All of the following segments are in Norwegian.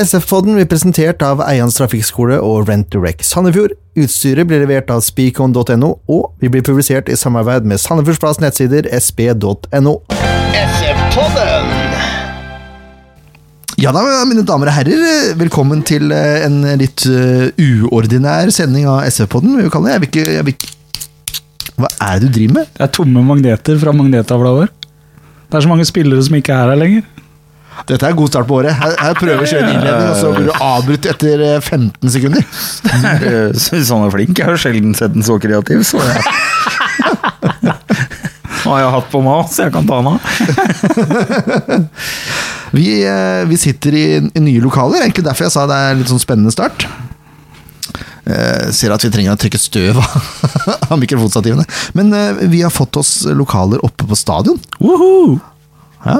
SF-podden blir presentert av Eians Trafikkskole og Rent Direct Sandefjord. Utstyret blir levert av speakon.no, og vi blir publisert i samarbeid med Sandefjordsplass nettsider sp.no. SF-podden! Ja da, mine damer og herrer, velkommen til eh, en litt eh, uordinær sending av SF-podden, vil vi kalle det. Jeg vil ikke, jeg vil ikke Hva er det du driver med? Det er tomme magneter fra magnettavla vår. Det er så mange spillere som ikke er her lenger. Dette er en god start på året. Her, her prøver vi å kjøre en innledning, og så blir du avbrutt etter eh, 15 sekunder. Jeg synes han er Eh, flink. Jeg har sjelden sett den så kreativ. Så jeg. Nå har jeg hatt på meg, så jeg kan ta den av. Vi, eh, vi sitter i, i nye lokaler, egentlig derfor jeg sa det er litt sånn spennende start. Eh, ser at vi trenger å trykke støv av mikrofonstativene. Men eh, vi har fått oss lokaler oppe på stadion. Woohoo! Ja.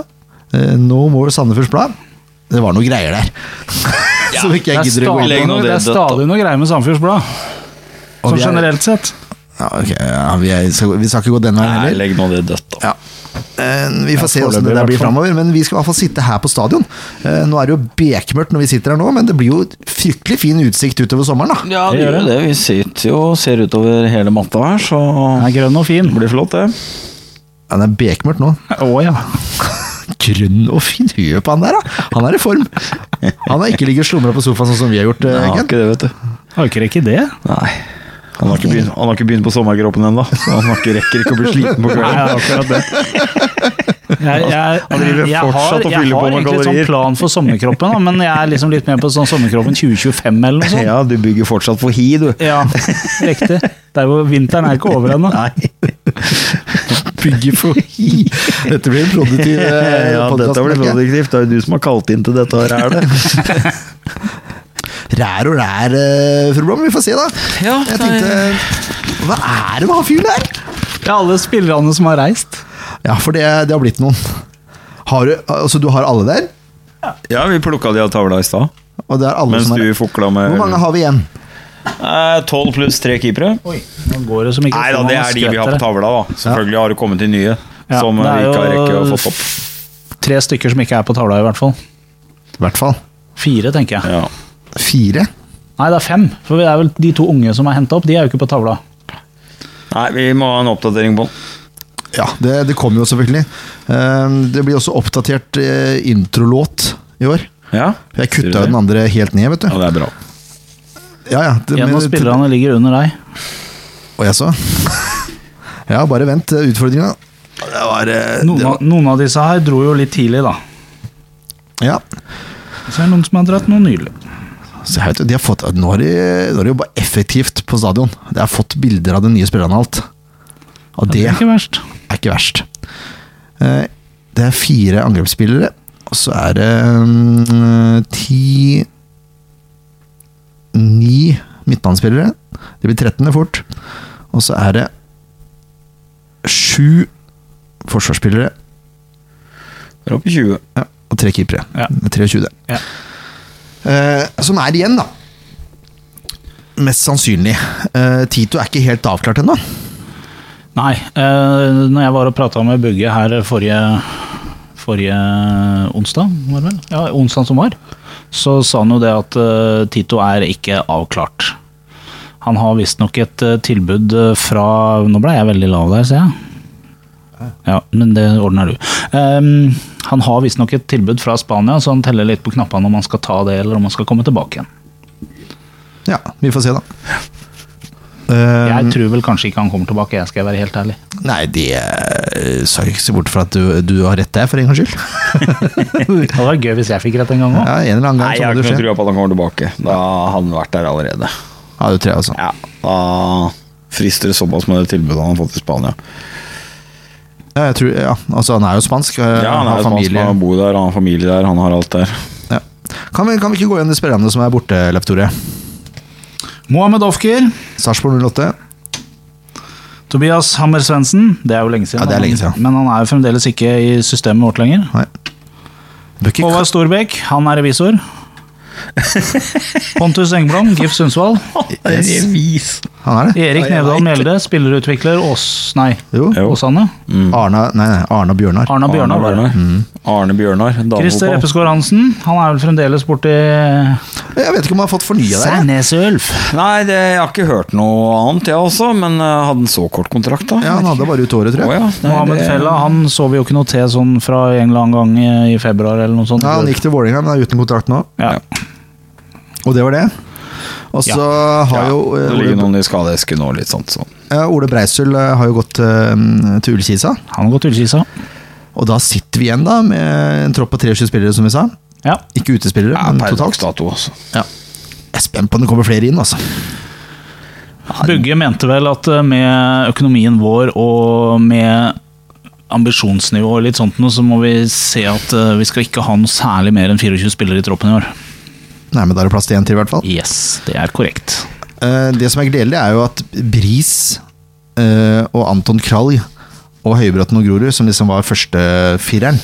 Eh, no More Sandefjords Blad. Det var noe greier der. Som ikke Det er jeg gidder å gå stadig inn på. noe, det det er er stadig noe greier med Sandefjords Blad. Og Sånn vi er- generelt sett. Ja, ok, ja, vi, er, skal, vi skal ikke gå den veien heller. legg nå det dødt, da. Ja. Eh, Vi får se hvordan det foreløpig i der hvert blir fall. framover, men vi skal i hvert fall sitte her på stadion. Eh, Nå er det jo bekmørkt når vi sitter her nå, men det blir jo fryktelig fin utsikt utover sommeren, da. Ja, Det det gjør gjør jo det. Vi sitter jo og ser utover hele matta her, så Den er grønn og fin. det blir flott, det. Ja, det er bekmørkt nå. Å ja. Grønn og fin hue på han der, da! Han er i form. Han har ikke ligget slumra på sofaen sånn som vi har gjort. eh, Jeg har Ken. ikke det, vet du. Orker ikke det? Nei. Han har ikke begynt, han har ikke begynt på sommerkroppen ennå, så han har ikke, rekker ikke å bli sliten på Nei, det er kvelden. akkurat det. Jeg, jeg, Han jeg, driver har, fortsatt og jeg fyller på har med egentlig sånn kalorier. plan for sommerkroppen, da, men jeg er liksom litt mer på sånn sommerkroppen 2025 eller noe sånt. Ja, du bygger fortsatt for hi, du. Ja, riktig. Det er jo, vinteren er ikke over ennå. Nei. Bygger for hi. Dette blir en produktiv eh, Ja, podcast, dette blir merker jeg. produktivt. Det er jo du som har kalt inn til dette her, er det? Rær og rær, eh, fru Blom. Vi får se, da. Ja, Jeg tenkte Hva er det med han fyren der? Det er alle spillerne som har reist. Ja, for det, det har blitt noen. Har du, altså, du har alle der? Ja, vi plukka de av tavla i stad. Og det er alle Mens som er du fokla med Hvor mange har vi igjen? Eh, 12 pluss 3 keepere. Oi, nå går det som ikke Nei da, det er de vi har på tavla, da. Selvfølgelig har det kommet inn nye. Ja, som det vi er ikke har jo- rekke å fått opp. Tre stykker som ikke er på tavla, i hvert fall. I hvert fall Fire, tenker jeg. Ja. fire. Nei, det er fem. For det er vel de to unge som er henta opp, de er jo ikke på tavla. Nei, vi må ha en oppdatering på den. Ja, det, det kommer jo selvfølgelig. Ehm, Det blir også oppdatert eh, introlåt i år. Ja. Jeg Sier du kutta det? den andre helt ned, vet Ja, du. det er bra. Ja, ja. det- En av men- spillerne ligger under deg. Og jeg så. Ja, bare vent eh, utfordringa. Det var, eh, Noen det av, var noen av disse her dro jo litt tidlig, da. Ja. Så er det noen som har dratt noe nylig. Så jeg vet, jo, de har fått, nå har de, nå har de jobba effektivt på stadion. De har fått bilder av de nye spillerne og alt. Og Det det er ikke verst. er ikke verst. Eh, Det er fire angrepsspillere, og så er det mm, ti Ni midtbanespillere. Det blir 13. fort. Og så er det sju forsvarsspillere Vi er oppe i 20. ja, og tre keepere. Ja. Det er 23. Ja. Eh, som er igjen, da. Mest sannsynlig. Eh, Tito er ikke helt avklart ennå. Nei, eh, når jeg var og prata med Bugge her forrige, forrige onsdag, var det vel? Ja, onsdag som var, så sa han jo det at eh, Tito er ikke avklart. Han har visstnok et eh, tilbud eh, fra Nå ble jeg veldig lav der, ser jeg. Ja, men det ordner du. Ehm, han har visstnok et tilbud fra Spania, så han teller litt på knappene om han skal ta det, eller om han skal komme tilbake igjen. Ja, vi får se, da. Eh, Jeg tror vel kanskje ikke han kommer tilbake, jeg skal være helt ærlig. Nei, det eh, sa jeg ikke så bort fra at du, du har rett der, for en gangs skyld. Det hadde vært gøy hvis jeg fikk rett en gang òg. Ja, en eller annen Nei, gang jeg så har må det ikke skje. noe trua på at han kommer tilbake. Da har han vært der allerede. Ja, du tror jeg også. Ja, da frister det såpass med det tilbudet han har fått i Spania. Ja, jeg tror, ja. Altså, han er jo spansk. Ja, han er jo spansk, han bor der, han har familie der, han har alt der. Ja. Kan, vi, kan vi ikke gå igjen de spillerne som er borte, Leif Tore? Mohammed Ofker, Sarpsborg 08. Tobias Hammer Svendsen. Det er jo lenge siden. Ja, det er lenge men- siden. Men han er jo fremdeles ikke i systemet vårt lenger. Nei. Bør ikke, Håvard Storbekk, han er revisor. Pontus Engblom, GIF Sundsvall. Yes. Revis. Han er det. Erik Nei, jeg Nevdal vet. Mjelde, spillerutvikler Ås... Nei, Jo. Jo. Åsane. Arna, nei, nei, Arna Bjørnar. Arna Arne Bjørnar. var det. Bjørnar. Arne Bjørnar, Christer damefotball. Eppeskår Hansen. Han er vel fremdeles borti Jeg vet ikke om han har fått fornya der. jeg. Sandnes Ulf. Nei, det, jeg har ikke hørt noe annet, jeg også, men eh, hadde en så kort kontrakt, da? Ja, han hadde bare ut året, tror jeg. Å, ja. Nei, Mohammed det- Fella han så vi jo ikke noe til sånn fra en eller annen gang i- i februar eller noe sånt. Ja, han gikk til Vålerenga, men er uten kontrakt nå. Ja. Og det var det. Og så har jo Ja, eh, det ligger Ole, noen i skadeesken og litt sånn sånt. Så. ja, Ole Breisel eh, har jo gått eh, til Ullkisa. Han har gått til Kisa. Og da sitter vi igjen da med en tropp på 23 spillere, som vi sa. Ja. Ikke utespillere, Ja, men per dags totalt. dato, altså. Ja. Jeg er spent på om det kommer flere inn, altså. Bugge mente vel at eh, med økonomien vår og med ambisjonsnivå og litt sånt noe, så må vi se at eh, vi skal ikke ha noe særlig mer enn 24 spillere i troppen i år. Nei, men da er det plass til én til, i hvert fall. Yes, det er korrekt. Eh, Det som er gledelig, er jo at Bris eh, og Anton Kralj og Høybråten og Grorud, som liksom var førstefireren,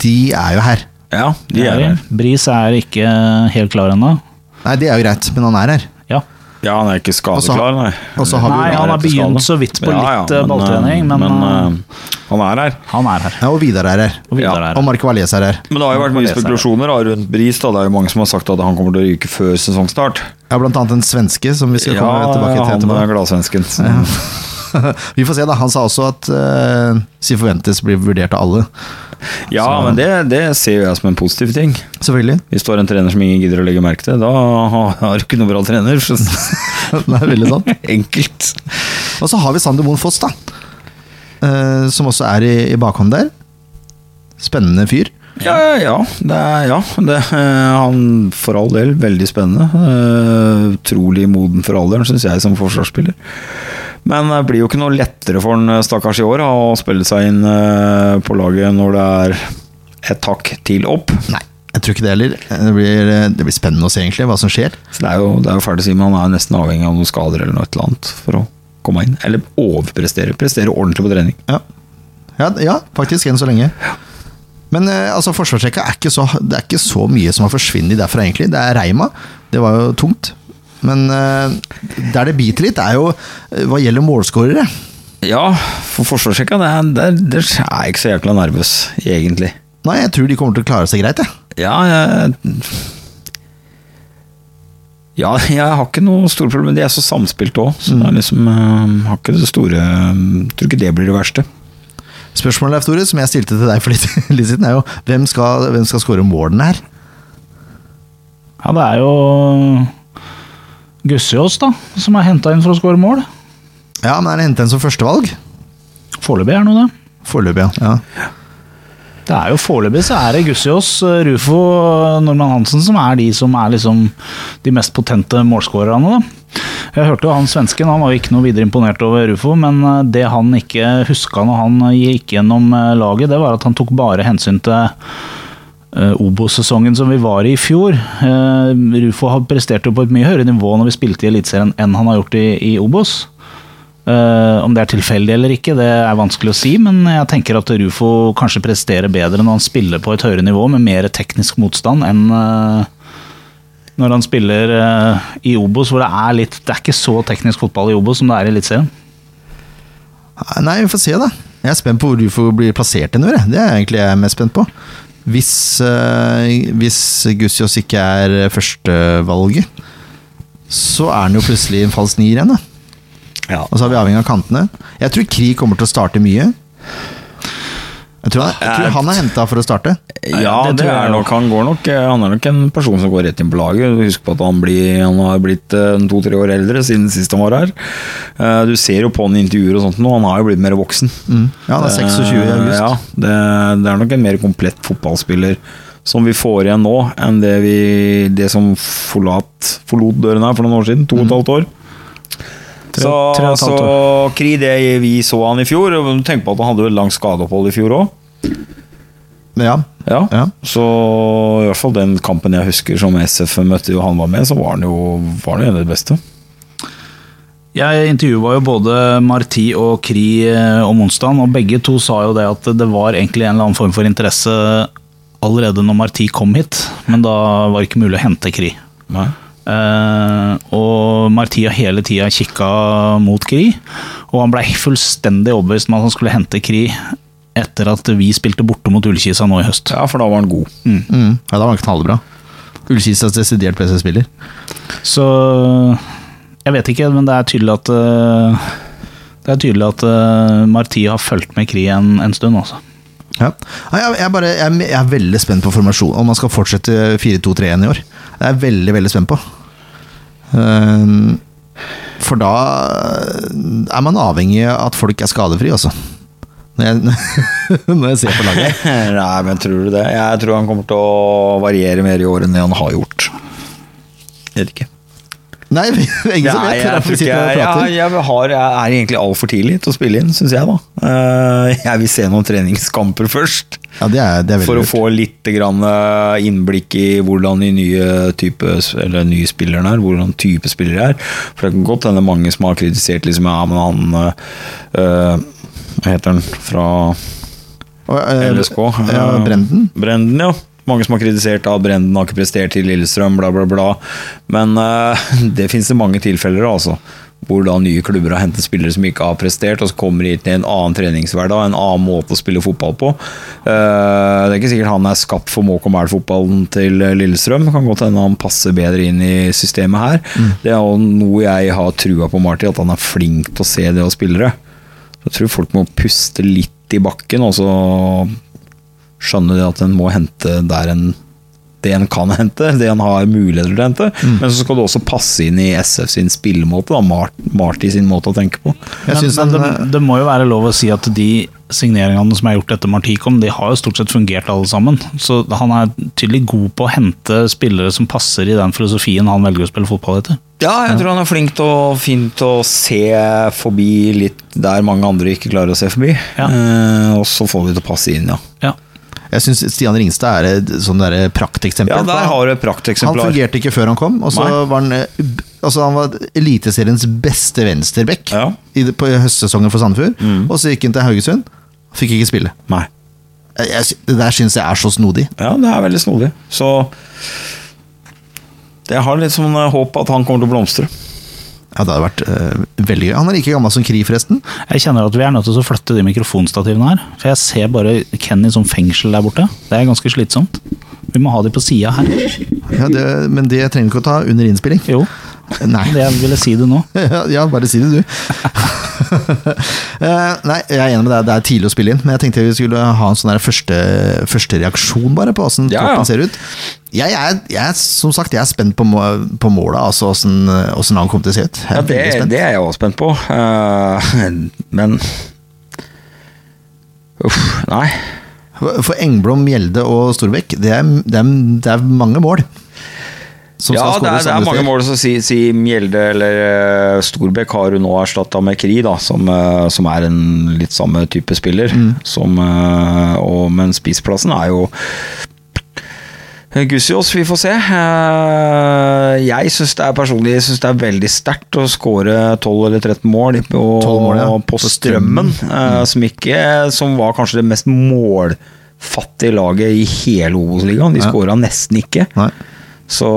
de er jo her. Ja, de er her. Bris er ikke eh, helt klar ennå. Nei, det er jo greit, men han er her. Ja. Ja, han er ikke Og så skadeklar, har- nei. og så har vi jo- Nei, han har etter skade. begynt så vidt på litt, eh, men, balltrening, eh, men, eh, han er her. Han er her. Ja, og Vidar er her. Og Vidar Ja, er Og her. Marco Valles er her. Men det har jo vært mye det er seg, ja. spekulasjoner da, rundt Bris. Da. Det er jo mange som har sagt at han kommer til å ryke før sesongstart. Ja, blant annet den svenske, som vi skal Ja, komme tilbake til han etterpå. er gladsvensken. så- Vi får se, da. Han sa også at uh, si forventes blir vurdert av alle. Ja, men det, det ser jo jeg som en positiv ting. Selvfølgelig. Hvis du har en trener som ingen gidder å legge merke til, da har du ikke noen bra trener. Så Det er veldig sant. sånn. enkelt. Og så har vi Sander Moen Foss, da. Eh, som også er i, i bakhånd der. Spennende fyr. Ja, ja. Det er, ja det, eh, han for all del veldig spennende. Eh, Utrolig moden for alderen, syns jeg, som forsvarsspiller. Men det blir jo ikke noe lettere for han eh, stakkars i år da, å spille seg inn eh, på laget når det er et hakk til opp. Nei, jeg tror ikke det heller. Det blir, eh, det blir spennende å se egentlig hva som skjer. Så det er jo, det er jo ferdig å si, men han er nesten avhengig av noen skader eller noe et eller annet for å komme inn. Eller overprestere. Prestere ordentlig på trening. Ja, ja, ja faktisk, enn så lenge. Men eh, altså, forsvarsrekka er ikke så Det er ikke så mye som har forsvunnet derfra, egentlig. Det er Reima. Det var jo tungt. Men eh, der det biter litt, er jo eh, hva gjelder målskårere. Ja, for forsvarssjekka, det er, det, er- det er jeg ikke så jækla nervøs, egentlig. Nei, jeg tror de kommer til å klare seg greit, jeg. Ja, jeg Ja, jeg har ikke noe store problemer. De er så samspilt òg, så det er liksom eh, Har ikke det store ehm, Tror ikke det blir det verste. Spørsmålet Leif Tore, som jeg stilte til deg for litt, litt siden, er jo hvem skal, hvem skal skåre målene her? Ja, det er jo eh, Gussiås, da, som er henta inn for å skåre mål. Ja, men er det hentet en som førstevalg? Foreløpig er nå det. Foreløpig, ja. ja. Det er jo Foreløpig så er det Gussiås, eh, Rufo og Norman Hansen som er de som er liksom de mest potente målskårerne. da. Jeg hørte jo han svensken, han var jo ikke noe videre imponert over Rufo, men eh, det han ikke huska når han gikk gjennom eh, laget, det var at han tok bare hensyn til eh, Obo-sesongen som vi var i i fjor. Eh, Rufo har prestert jo på et mye høyere nivå når vi spilte i Eliteserien enn han har gjort i, i Obos. Eh, om det er tilfeldig eller ikke, det er vanskelig å si, men jeg tenker at Rufo kanskje presterer bedre når han spiller på et høyere nivå med mer teknisk motstand enn eh, når han spiller eh, i Obos, hvor det er litt Det er ikke så teknisk fotball i Obos som det er i Eliteserien. Ah, Nei, vi får se, da. Jeg er spent på hvor du får bli plassert hen, Det er egentlig jeg er mest spent på. Hvis, uh, hvis Gussiås ikke er førstevalget, så er han jo plutselig en falsk nier igjen, da. Ja. Og så er vi avhengig av kantene. Jeg tror Kri kommer til å starte mye. Jeg tror, han- jeg tror han er henta for å starte. det det, tror jeg er jo. nok Han går nok eh, Han er nok en person som går rett inn på laget. Husk på at han, blir, han har blitt eh, to-tre år eldre siden sist han var her. Eh, Du ser jo på han i intervjuer og sånt nå, han har jo blitt mer voksen. Mm. Ja, han er 26 i august. Eh, Ja, det, det er nok en mer komplett fotballspiller som vi får igjen nå, enn det, vi, det som forlot, forlot døren her for noen år siden. To og et halvt år. Tre- så, tre og et halvt så Kri, det vi så han i fjor og Tenk på at han hadde jo et langt skadeopphold i fjor òg. Men ja. Ja. Ja. Så i hvert fall den kampen jeg husker som SF møtte og han var med, så var han jo, var han jo en av de beste. Jeg intervjua jo både Marti og Kri eh, om onsdagen, og begge to sa jo det at det var egentlig en eller annen form for interesse allerede når Marti kom hit, men da var det ikke mulig å hente Kri. Nei. Eh, og Marti har hele tida kikka mot Kri, og han blei fullstendig overbevist om at han skulle hente Kri etter at vi spilte borte mot Ullkisa nå i høst. Ja, for da var han god. Mm. Ja, da var han knallbra. Ullkisas desidert beste spiller. Så jeg vet ikke, men det er tydelig at eh, Det er tydelig at eh, Marti har fulgt med Kri en, en stund, altså. Ja. Nei, Jeg, jeg, bare, jeg, jeg er veldig spent på formasjon, om man skal fortsette 4-2-3-1 i år. Det er jeg veldig, veldig spent på. Ehm, for da eh, er man avhengig av at folk er skadefri, altså. Når jeg, når jeg ser på laget. Nei, men tror du det? Jeg tror han kommer til å variere mer i år enn det han har gjort. Vet ikke. Nei, vi- det er ingen som Nei, vet. det er jeg, derfor vi tror ikke sitter jeg, her og prater. jeg, jeg, har, jeg er egentlig altfor tidlig til å spille inn, syns jeg. da Eh, Jeg vil se noen treningskamper først, Ja, det er, det er veldig for å lurt. få litt grann eh, innblikk i hvordan de nye, type, eller nye spillerne er, hvordan type spillere er. For det kan godt hende mange som har kritisert liksom, ja, men han eh, eh, Hva heter han fra Og, eh, LSK? Ja, Eh, Brenden. Brenden, ja. Mange som har kritisert at Brenden har ikke prestert til Lillestrøm, bla, bla, bla. Men eh, det finnes det mange tilfeller, altså. Hvor da nye klubber har hentet spillere som ikke har prestert, og så kommer de til en annen treningshverdag, en annen måte å spille fotball på. Eh, det er ikke sikkert han er skapt for Måkom Mæhl-fotballen til eh, Lillestrøm. Det kan godt hende han passer bedre inn i systemet her. Mm. Det er jo noe jeg har trua på Marty, at han er flink til å se det hos spillere. Jeg tror folk må puste litt i bakken, og så skjønne det at en må hente der en det en kan hente, det en har muligheter til å hente. Men så skal det også passe inn i SF sin spillemåte, da, Mart, Marty sin måte å tenke på. Jeg Men, synes men han, det, eh, det må jo være lov å si at de signeringene som er gjort etter Marti kom, de har jo stort sett fungert alle sammen. Så han er tydelig god på å hente spillere som passer i den filosofien han velger å spille fotball etter. Ja, jeg tror han er flink til å, fin til å se forbi litt der mange andre ikke klarer å se forbi. Ja. Eh, og så får vi det til å passe inn, ja. Ja. Jeg syns Stian Ringstad er et sånn derre prakteksempel. Ja, der har du et Han prakteksemplar. fungerte ikke før han kom, og så Nei. var han eh, b- altså han var Eliteseriens beste venstreback Ja. Mm. i det- på høstsesongen for Sandefjord. Og så gikk han til Haugesund, fikk ikke spille. Nei. Jeg, jeg, sy- det der syns jeg er så snodig. Ja, det er veldig snodig. Så jeg har litt sånn eh, håp at han kommer til å blomstre. Ja, det hadde vært eh, veldig gøy. Han er like gammel som Kri, forresten. Jeg kjenner at vi er nødt til å flytte de mikrofonstativene her. For jeg ser bare Kenny som fengsel der borte. Det er ganske slitsomt. Vi må ha de på sida her. Ja, det, men det trenger du ikke å ta under innspilling. Jo, Nei. det jeg ville si det nå. Ja, bare si det, du. Eh, Nei, jeg er enig med deg, det er tidlig å spille inn, men jeg tenkte vi skulle ha en sånn her første, første reaksjon bare på åssen Ja, ja. troppen ser ut. Jeg er, jeg er som sagt jeg er spent på, må- på måla, altså åssen åssen han kommer til å se ut. Jeg er Ja, det, veldig spent. det er jeg også spent på. Eh, men Uff, nei. For Engblom, Gjelde og Storbekk, det er, det er, det er mange mål. Som Ja, skal det er, skåres det er andre mange steder. mål som sier si Mjelde eller eh, Storbekk har hun nå erstatta med Kri, da, som, eh, som er en litt samme type spiller. Mm. Som, eh, og, men spissplassen er jo Gussiås, vi får se. Eh, Jeg syns det er personlig jeg synes det er veldig sterkt å skåre 12 eller 13 mål, og, 12 mål, ja. Mm. på Strømmen, eh, som, ikke, som var kanskje det mest målfattige laget i hele Obos-ligaen. De Ja. skåra nesten ikke. Nei. Så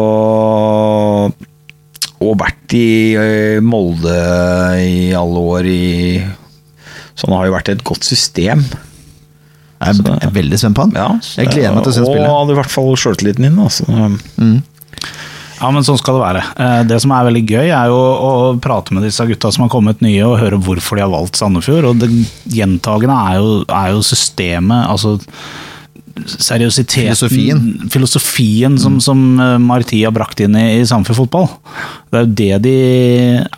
Og vært i ø, Molde i alle år i Så han har jo vært et godt system. Jeg er, jeg er veldig spent på han. Ja, jeg gleder meg til å se han Og spille. hadde i hvert fall sjøltilliten din. Altså. Ja, men sånn skal det være. Eh, Det som er veldig gøy, er jo å prate med disse gutta som har kommet nye, og høre hvorfor de har valgt Sandefjord. Og det gjentagende er jo, er jo systemet, altså seriøsiteten Filosofien. filosofien Mm. som, som eh, Marti har brakt inn i, i Sandefjord fotball. Det er jo det de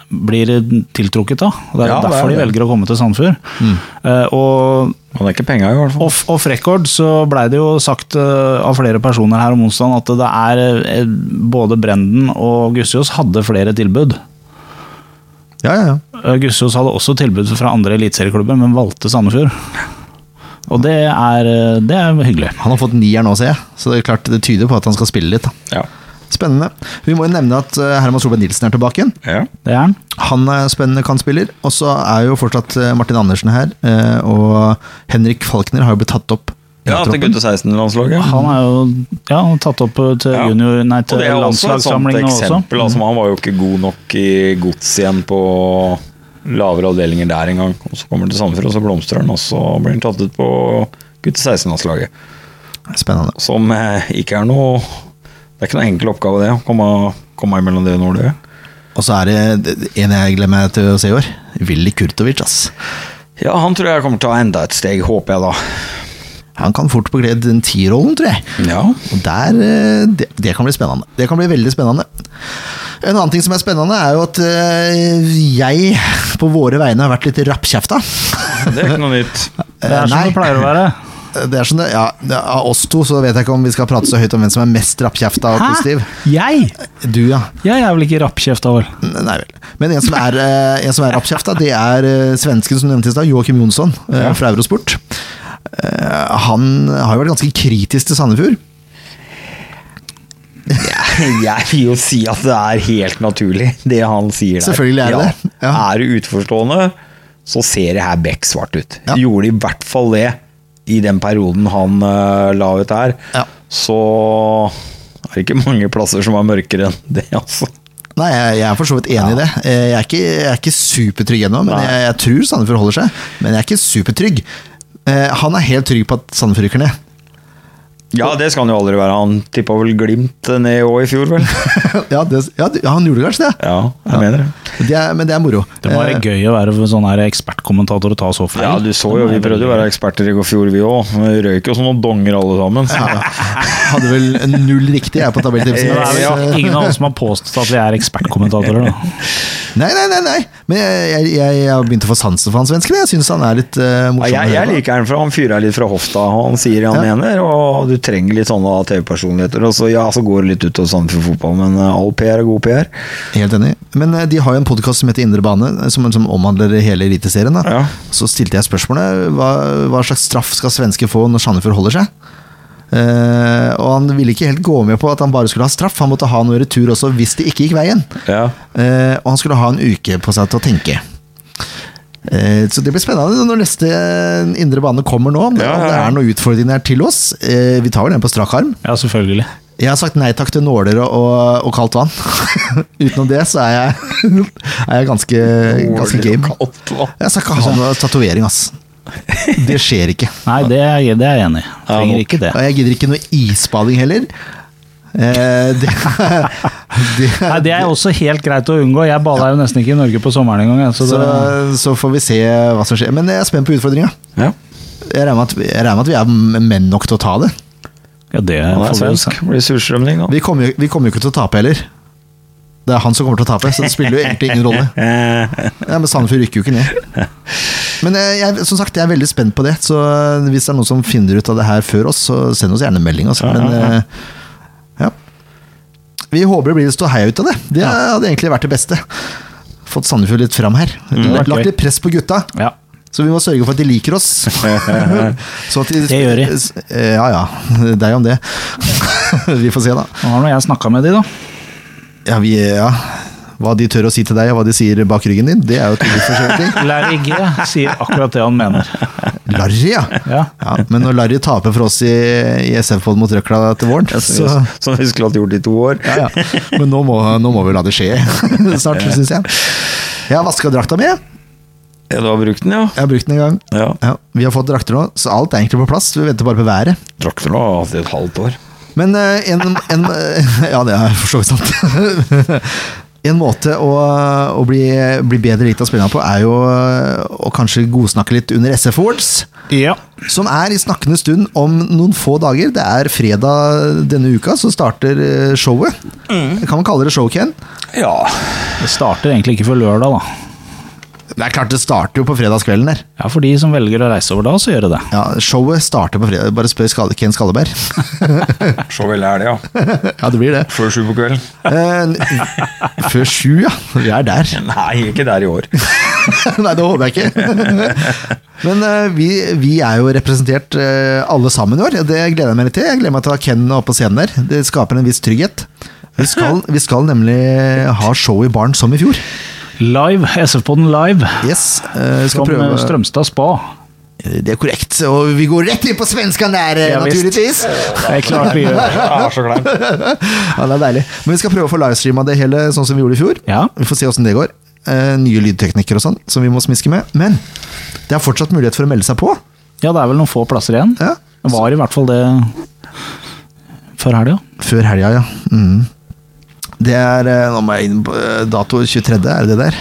blir tiltrukket av. og Det er jo Ja, det er derfor de det. Mm. velger å komme til Sandefjord. Eh, Og Han er ikke penga, i hvert fall. Off, off record så blei det jo sagt eh, av flere personer her om onsdagen at det er eh, både Brenden og Gussiås hadde flere tilbud. Ja, ja, ja. Eh, Gussiås hadde også tilbud fra andre eliteserieklubber, men valgte Sandefjord. Og det er, eh, det er hyggelig. Han har fått nier nå, ser jeg. Så det er klart det tyder på at han skal spille litt. Da. Ja. Spennende. Vi må jo nevne at eh, Herman Solberg Nilsen er tilbake igjen. Ja. Det er han. Han er spennende kantspiller. Og så er jo fortsatt eh, Martin Andersen her. eh, Og Henrik Falkner har jo blitt tatt opp Ja, til troppen. gutte 16-landslaget. Han er jo ja, han er tatt opp eh, til Ja. junior, nei, Og til det er jo også et sånt landslagssamlingen også. Mm. eksempel. Altså, han var jo ikke god nok i gods igjen på lavere avdelinger der engang. Og Så kommer han til Sandefjord, og så blomstrer han, og så blir han tatt ut på gutte 16-landslaget. Spennende. Som eh, ikke er noe Det er ikke noe enkel oppgave, det. Å komme, komme imellom det og når det. Og så er det en jeg gleder meg til å se i år. Willy Kurtovic, ass. Ja, han tror jeg kommer til å ta enda et steg, håper jeg da. Han kan fort beglede den T-rollen, tror jeg. Ja. Og der, eh, det, det kan bli spennende. Det kan bli veldig spennende. En annen ting som er spennende, er jo at eh, jeg på våre vegne har vært litt rappkjefta. Det er ikke noe nytt. Det er som Nei. det pleier å være. Det er sånn det, ja, Av oss to så vet jeg ikke om vi skal prate så høyt om hvem som er mest rappkjefta og positiv. Jeg? Du, ja. Jeg er vel ikke rappkjefta, vel? Nei vel. Men en som er, eh, en som er rappkjefta, det er eh, svensken som nevnte i stad, Joakim Jonsson eh, fra Eurosport. Eh, Han har jo vært ganske kritisk til Sandefjord. Jeg vil jo si at det er helt naturlig, det han sier der. Selvfølgelig er det det. Ja. Ja. Er du utforstående, så ser det her bekksvart ut. Ja. Gjorde i hvert fall det i den perioden han eh, la ut her. Ja. Så er det ikke mange plasser som er mørkere enn det, altså. Nei, jeg, jeg er for så vidt enig i det. Eh, Jeg er ikke, jeg er ikke supertrygg ennå, men Nei. jeg, jeg tror Sandefjord holder seg. Men jeg er ikke supertrygg. Eh, Han er helt trygg på at Sandefjord rykker ned. Ja, det skal han jo aldri være. Han tippa vel Glimt ned òg i fjor, vel? ja, det, ja, du- ja, han gjorde kanskje det. Ja, jeg mener det. det er, men det er moro. Det må være Eh, gøy å være sånn her ekspertkommentator og ta så feil. Ja, du så jo, vi prøvde jo å være eksperter i går fjor, vi òg. Vi røyk jo som noen donger alle sammen. ja, hadde vel null riktig jeg på tabelltipsen. Men det er vel Eh, ingen av oss som har påstått at vi er ekspertkommentatorer, da. Nei, nei, nei, nei. Men jeg, jeg, jeg, jeg har begynt å få sansen for han svensken. Jeg syns han er litt eh, morsom. å Ja, jeg, høre jeg på. liker den, for han fyrer litt fra hofta. og Han sier det han Ja. mener, og du trenger litt sånne TV-personligheter. Og så, ja, så går det litt utover Sandefjord fotball, men eh, all PR er god PR. Helt enig. Men eh, de har jo en podkast som heter Indre bane, eh, som, som omhandler hele Eliteserien. da. Ja. Så stilte jeg spørsmålet hva, hva slags straff skal svensker få når Sandefjord holder seg? Eh, og han ville ikke helt gå med på at han bare skulle ha straff, han måtte ha noe retur også hvis det ikke gikk veien. Eh, og han skulle ha en uke på seg til å tenke. Eh, Så det blir spennende når neste eh, indre bane kommer nå. Om det, Ja, ja, om det ja. er noen utfordringer til oss. Eh, Vi tar vel den på strak arm. Ja, selvfølgelig. Jeg har sagt nei takk til nåler og, og, og kaldt vann. Utenom det så er jeg, er jeg ganske, ganske game. Jeg skal ikke ha noe tatovering, ass. Det skjer ikke. Nei, det er, det er jeg enig i. Trenger ikke det. Og jeg gidder ikke noe isbading heller. Eh, det, det, Nei, Det er også helt greit å unngå. Jeg bada jo nesten ikke i Norge på sommeren engang. jeg, Så så, det, så får vi se hva som skjer. Men jeg er spent på utfordringa. Ja. Jeg regner med at, jeg regner med at vi er m- menn nok til å ta det. ja, det får vi Han er jo se. svensk. Blir surstrømning nå. Vi kommer jo vi kommer jo ikke til å tape heller. Det er han som kommer til å tape, så det spiller jo egentlig ingen rolle. Eh, Ja, men Sandefjord rykker jo ikke ned. Men eh, jeg, som sagt, jeg er veldig spent på det. Så hvis det er noen som finner ut av det her før oss, så send oss gjerne en melding. Altså. Ja, ja, Men eh, ja. Vi håper det blir litt ståhei ut av det. Det hadde egentlig vært det beste. Fått Sandefjord litt fram her. Mm. det er gøy. Lagt litt press på gutta. Ja. Så vi må sørge for at de liker oss. Så at de, Det gjør de. s- eh, Ja ja, det er jo om det. vi får se, da. Nå har nå jeg snakka med de, da. Ja, vi, ja. Hva de tør å si til deg, og hva de sier bak ryggen din, det er jo to litt forskjellige ting. Larry G sier akkurat det han mener. Larry, ja. Ja. ja. Men når Larry taper for oss i, i SF-pod mot Røkla til våren, så Som vi skulle hatt gjort i to år. ja, ja. Men nå må, nå må vi la det skje snart, syns jeg. Jeg har vaska drakta mi. Jeg Ja, du har brukt den, ja? har brukt den en gang. Ja. Ja, vi har fått drakter nå, så alt er egentlig på plass. Vi venter bare på været. Drakk du nå alltid et halvt år? Men eh, en, en Ja, det er for så vidt sant. En måte å, å bli, bli bedre likt av spillerne på, er jo eh, å kanskje godsnakke litt under SF Awards. ja. Som er i snakkende stund om noen få dager. Det er fredag denne uka, så starter eh, showet. Kan man kalle det show, Ken? Ja. Det starter egentlig ikke før lørdag, da. Det er klart det starter jo på fredagskvelden der. Ja, For de som velger å reise over da, så gjør de det. Ja, Showet starter på fredag. Bare spør Skalle, Ken Skalleberg. Så vel er det, ja. ja, det blir det. Før sju på kvelden. Eh, n- Før sju, ja. Vi er der. Nei, ikke der i år. Nei, det håper jeg ikke. Men eh, vi, vi er jo representert eh, alle sammen i år. Det gleder jeg meg litt til. Jeg gleder meg til å ha Ken opp på scenen der. Det skaper en viss trygghet. Vi skal, vi skal nemlig ha show i baren som i fjor. Live, SF-podden live, Yes. eh, vi som skal prøve Strømstad spa. Det er korrekt, og vi går rett inn på svensken der, eh, Ja, visst. naturligvis. Det er klart vi gjør. Ja, så klein. Ja, det er deilig. Men vi skal prøve å få livestreama det hele sånn som vi gjorde i fjor. Ja. Vi får se åssen det går. Eh, nye lydteknikker og sånn som vi må smiske med. Men det er fortsatt mulighet for å melde seg på. Ja, det er vel noen få plasser igjen. Ja. Det var i hvert fall det før helga. Før helga, ja. Mm. Det er eh, Nå må jeg inn på eh, dato 23., er det det der?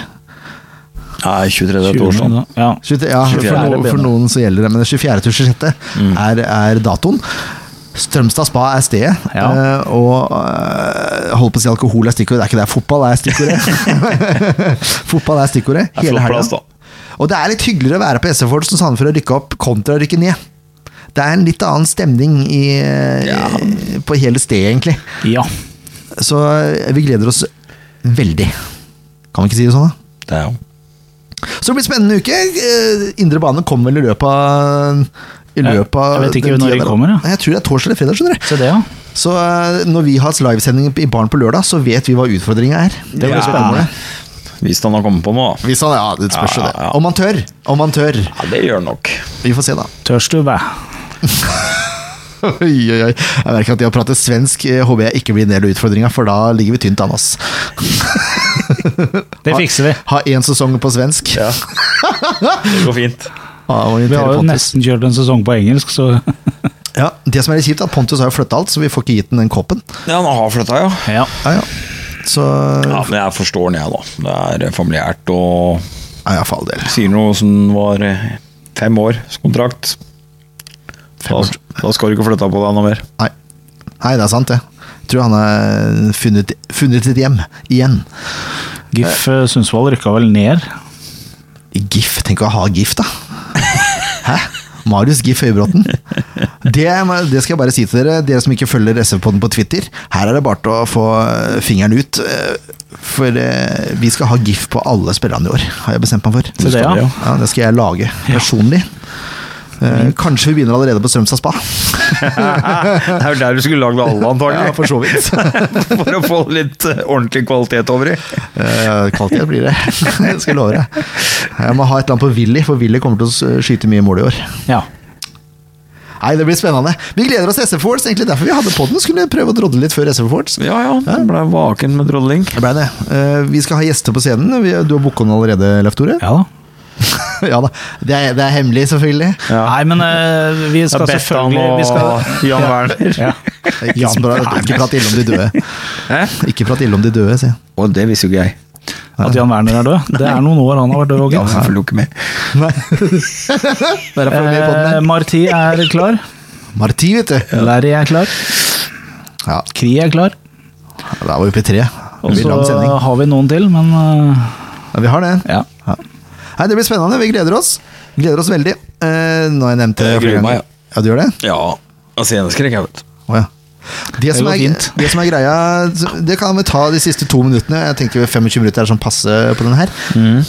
Nei, 23. et år sånn. Ja. 23, ja, For, 24. noen, for noen så gjelder det, men det 24. til 26. Er, er datoen. Strømstad spa er stedet, Ja. eh, og eh, holdt på å si alkohol er stikkordet. Det er ikke det, fotball er stikkordet. fotball er stikkordet Det er hele flott helga. plass, da. Og det er litt hyggeligere å være på SF-Ford som Sandefjord og rykke opp kontra å rykke ned. Det er en litt annen stemning i, i- på hele stedet, egentlig. ja. Så eh, vi gleder oss veldig. Kan vi ikke si det sånn, da? Det er jo Så det blir en spennende uke. Eh, Indre bane kommer vel i løpet av i Ja, løpet av jeg vet ikke den når tida de der. kommer, ja. Nei, Jeg tror det er torsdag eller fredag. skjønner du Se det, ja. Så eh, når vi har livesending i baren på lørdag, så vet vi hva utfordringa er. Det blir Ja. spennende. Hvis han har kommet på noe, da. Hvis han, ja, det spørs jo Ja, det. ja, ja. Om han tør! Om han tør. Ja, det gjør han nok. Vi får se, da. Tørs du, bæ? Oi, oi, oi. Jeg merker at de har pratet svensk. eh, Håper jeg ikke blir en del av utfordringa, for da ligger vi tynt an, ass. Det fikser vi. Ha én sesong på svensk. Ja. Det går fint. Ah, orientere Vi har jo Pontus. nesten kjørt en sesong på engelsk, så ja, det som er litt kjipt, er at Pontus har jo flytta alt, så vi får ikke gitt den den koppen. Ja, han har flytta, ja. ja. Ja, ja. Så ja. Men jeg forstår den, jeg, da. Det er eh, familiært og Ja, ja, for all del. sier noe som var eh, fem års kontrakt. Da, års. da skal du ikke flytte på deg noe mer. Nei. Nei, det er sant, det. Jeg tror han har funnet, funnet et hjem. Igjen. GIF eh, Sundsvall rykka vel ned. GIF. Tenk å ha GIF, da. Hæ? Marius GIF Høybråten. Det, må- det skal jeg bare si til dere, dere som ikke følger SV-podden på Twitter. Her er det bare til å få eh, fingeren ut. eh, For eh, vi skal ha GIF på alle spillerne i år, har jeg bestemt meg for. Se det, ja. Ja, det skal jeg lage personlig. Eh, Kanskje vi begynner allerede på Strømstad spa. Det er jo der du skulle lagd alle, Ja, for antagelig. så vidt. For å få litt eh, ordentlig kvalitet over i. Eh, Kvalitet blir det. det skal jeg love deg. Jeg må ha et eller annet på Willy, for Willy kommer til å s- skyte mye mål i år. Ja. Nei, det blir spennende. Vi gleder oss til SF Awards, egentlig derfor vi hadde podden. Skulle prøve å drodle litt før SF Awards. Ja ja, da ble jeg vaken med drodling. Det ble det. Eh, Vi skal ha gjester på scenen. Vi- Du har booka den allerede, Leif Tore? ja da. Ja da. Det er, det er hemmelig, selvfølgelig. Nei, men eh, vi skal selvfølgelig vi skal, Jan Werner. ja. Ikke, så bra. ikke prat ille om de døde. Hæ? Ikke prat ille om de døde, si. Og det visste jo ikke jeg. At Jan Werner er død? Det er noen år han har vært død òg, Ja, selvfølgelig ikke med. Nei. Der er vi med i podden Eh, her. Marti er klar. Marti, vet du. Larry er klar. Ja, Kri er klar. da var vi på tre. Og Det blir lang så sending. har vi noen til, men eh, Ja, vi har det. ja. Ja. Nei, det blir spennende. Vi gleder oss. Gleder oss veldig. Eh, nå har jeg nevnt det Jeg flere gruer meg, ganger. Ja, du gjør det? Ja, sceneskrekk, jeg vet. Å, ja. Det, som går er, fint. det som er greia Det kan vi ta de siste to minuttene. Jeg tenker 25 minutter er sånn passe på den her. Mm.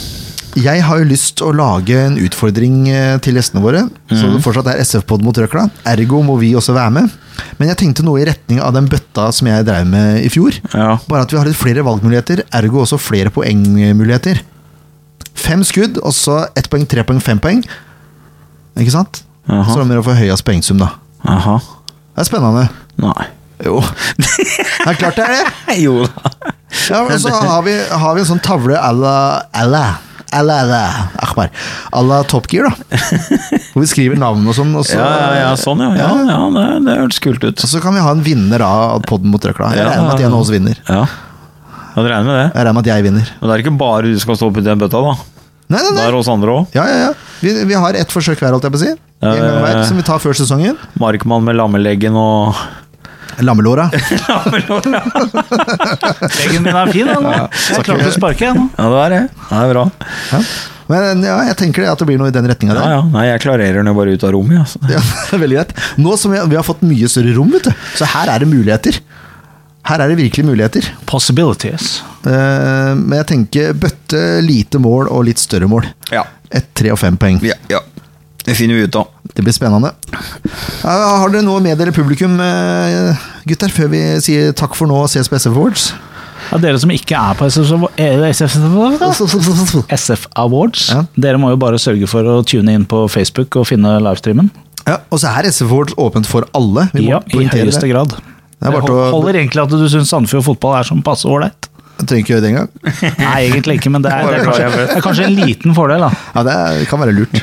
Jeg har jo lyst til å lage en utfordring eh, til gjestene våre. Så Mm. det fortsatt er SF-pod mot røkla. Ergo må vi også være med. Men jeg tenkte noe i retning av den bøtta som jeg drev med i fjor. Ja. Bare at vi har litt flere valgmuligheter, ergo også flere poengmuligheter. Fem skudd, og så ett poeng, tre poeng, fem poeng. Ikke sant? Aha. Så da må dere få høyest poengsum, da. Aha. Det er spennende. Nei. Jo. Det er klart det er det. Jo da. Ja, og så har vi, har vi en sånn tavle à la à la- à la- à la- Akbar. À la Top Gear, da. Hvor vi skriver navn og sånn. Og så, Ja, ja, ja, sånn ja. Ja, ja det, det hørtes kult ut. og så kan vi ha en vinner av podden mot røkla. Jeg Ja, regner med at ja, jeg nå ja. også vinner. Ja. Jeg regner med det. Jeg regner med at jeg vinner. Men det er ikke bare du som skal stå oppi den bøtta, da. Nei, nei, Det nei. er oss andre òg. Ja, ja, ja. Vi, vi har ett forsøk hver, holdt jeg på å si. Ja, En gang ja, ja. hver, som vi tar før sesongen. Markmann med lammeleggen og Lammelåra. Leggen min er fin, den. nå. Jeg er klar til å sparke, jeg nå. Ja, det er det. Det er bra. Ja. Men ja, jeg tenker det at det blir noe i den retninga Ja, der. ja. Nei, jeg klarerer den jo bare ut av rommet, altså. Ja, veldig greit. Nå som vi, vi har fått mye større rom, vet du, så her er det muligheter. Her er det virkelig muligheter. Possibilities. Eh, men jeg tenker bøtte, lite mål og litt større mål. Ja. Et tre og fem poeng. Ja, ja. Det finner vi ut av. Det blir spennende. Ja, har dere noe å meddele publikum, eh, gutter, før vi sier takk for nå og ses på SF Awards? Ja, dere som ikke er på SF, SF, SF Awards, Ja. dere må jo bare sørge for å tune inn på Facebook og finne livestreamen. Ja, og så er SF Awards åpent for alle. Vi må Ja, i poengtere høyeste det. grad. er Det bare til å- holder egentlig at du syns Sandefjord fotball er sånn passe ålreit. Jeg trenger ikke gjøre det engang. Nei, egentlig ikke, men det er, det, er kanskje, det er kanskje en liten fordel, da. Ja, det er- kan være lurt.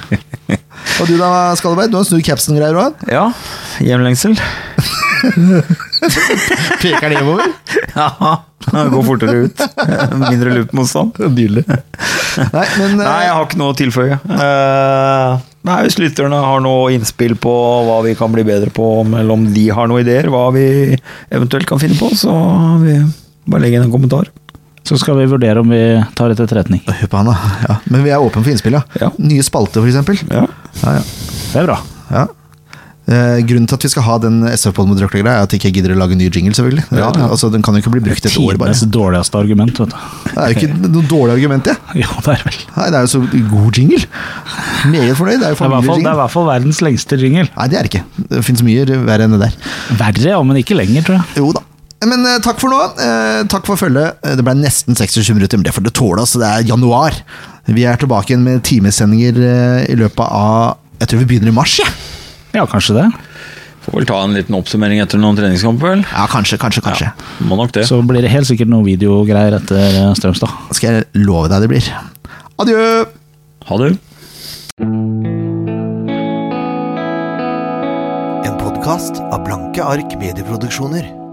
Og du da, Skalleberg, du har snudd capsen og greier òg? Ja, hjemlengsel. Peker det hjemover? Ja, Gå fortere ut. Mindre loop-motstand. Nydelig. Nei, men eh, Nei, jeg har ikke noe å tilføye. Eh, Nei, Hvis lytterne har noe innspill på hva vi kan bli bedre på, eller om de har noen ideer, hva vi eventuelt kan finne på, så vi bare legg inn en kommentar. Så skal vi vurdere om vi tar det til etterretning. Hør på han, da. Ja. Men vi er åpne for innspill, ja. Ja. Nye spalter, for eksempel. Ja. Ja, ja. Det er bra. ja. Eh, grunnen til at vi skal ha den SF-podden mot røkla greia, er at jeg ikke gidder å lage en ny jingle, selvfølgelig. Ja, Altså, den kan jo ikke bli brukt et år, bare. Tidenes dårligste argument, vet du. Det er jo ikke noe dårlig argument, det. Jo, det er vel. Nei, det er jo så god jingle. Meget fornøyd. Det er jo Det er i hvert fall, det er i familiejingle. hvert fall verdens lengste jingle. Nei, det er det ikke. Det fins mye verre enn det der. Verre, ja, men ikke lenger, tror jeg. Jo da. Men eh, takk for nå. Eh, takk for følget. Eh, Det ble nesten 26 minutter, men det får du tåle. Altså. Det er januar. Vi er tilbake igjen med timesendinger eh, i løpet av Jeg tror vi begynner i mars, jeg. Ja. Ja, kanskje det. Får vel ta en liten oppsummering etter noen treningskamper, vel? ja, kanskje, kanskje, kanskje. Må nok det. Så blir det helt sikkert noen videogreier etter eh, Strømstad. Skal jeg love deg det blir. Adjø! Ha det. En podkast av Blanke ark medieproduksjoner.